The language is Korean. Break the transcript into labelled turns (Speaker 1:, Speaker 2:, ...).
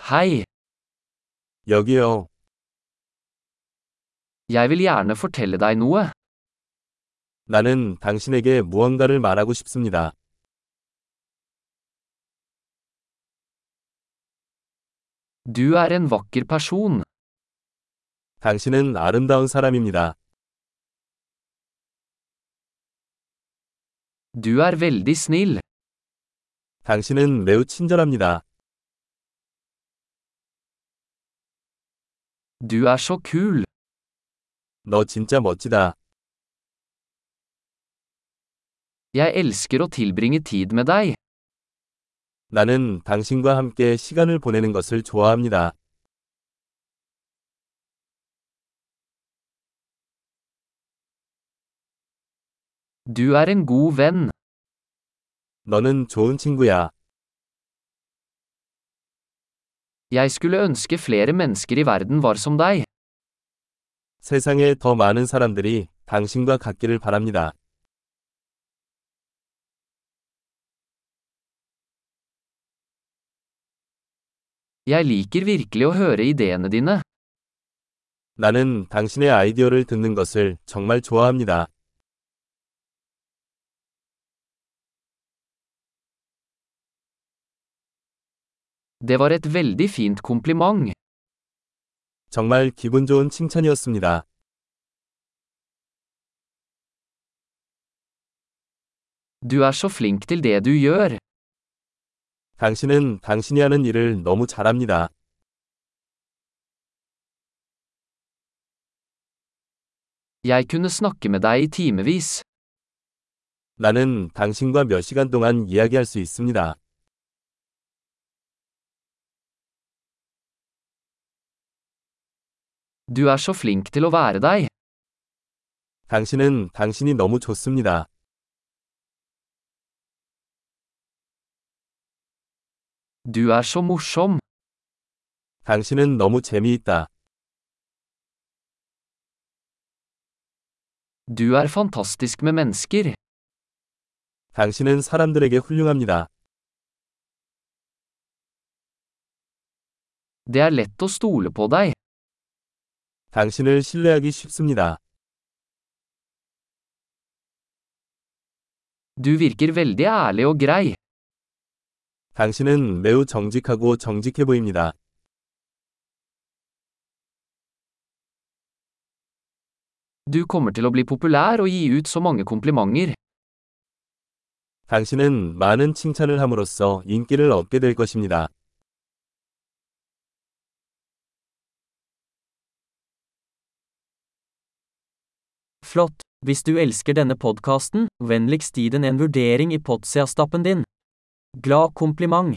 Speaker 1: Hei,
Speaker 2: 여기요.
Speaker 1: jeg vil gjerne fortelle deg noe.
Speaker 2: 나는 당신에게 무언가를 말하고 싶습니다.
Speaker 1: Du er en vakker person.
Speaker 2: 당신은 아름다운 사람입니다.
Speaker 1: Du er veldig snill.
Speaker 2: 당신은 매우 친절합니다.
Speaker 1: Du er så kul.
Speaker 2: 너 진짜 멋지다.
Speaker 1: Jeg elsker å tilbringe tid med deg.
Speaker 2: 나는 당신과 함께 시간을 보내는 것을 좋아합니다.
Speaker 1: Du er en god venn.
Speaker 2: 너는 좋은 친구야.
Speaker 1: Jeg skulle ønske flere mennesker i verden var som deg.
Speaker 2: 세상에 더 많은 사람들이 당신과 같기를 바랍니다.
Speaker 1: Jeg liker virkelig å høre ideene dine.
Speaker 2: 나는 당신의 아이디어를 듣는 것을 정말 좋아합니다.
Speaker 1: Det var et veldig fint kompliment.
Speaker 2: 정말 기분 좋은 칭찬이었습니다.
Speaker 1: Du er så flink til det du gjør.
Speaker 2: 당신은 당신이 하는 일을 너무 잘합니다.
Speaker 1: Jeg kunne snakke med deg i timevis.
Speaker 2: 나는 당신과 몇 시간 동안 이야기할 수 있습니다.
Speaker 1: Du er så flink til å være deg.
Speaker 2: 당신은 당신이 너무 좋습니다.
Speaker 1: Du er så morsom.
Speaker 2: 당신은 너무 재미있다.
Speaker 1: Du er fantastisk med mennesker.
Speaker 2: 당신은 사람들에게 훌륭합니다.
Speaker 1: Det er lett å stole på deg.
Speaker 2: 당신을 신뢰하기 쉽습니다.
Speaker 1: Du virker veldig ærlig og grei.
Speaker 2: 당신은 매우 정직하고 정직해 보입니다.
Speaker 1: Du kommer til å bli populær og gi ut så mange komplimenter.
Speaker 2: 당신은 많은 칭찬을 함으로써 인기를 얻게 될 것입니다.
Speaker 3: Flott! Hvis du elsker denne podkasten, vennligst gi den en vurdering i Potsia-stappen din. Glad kompliment!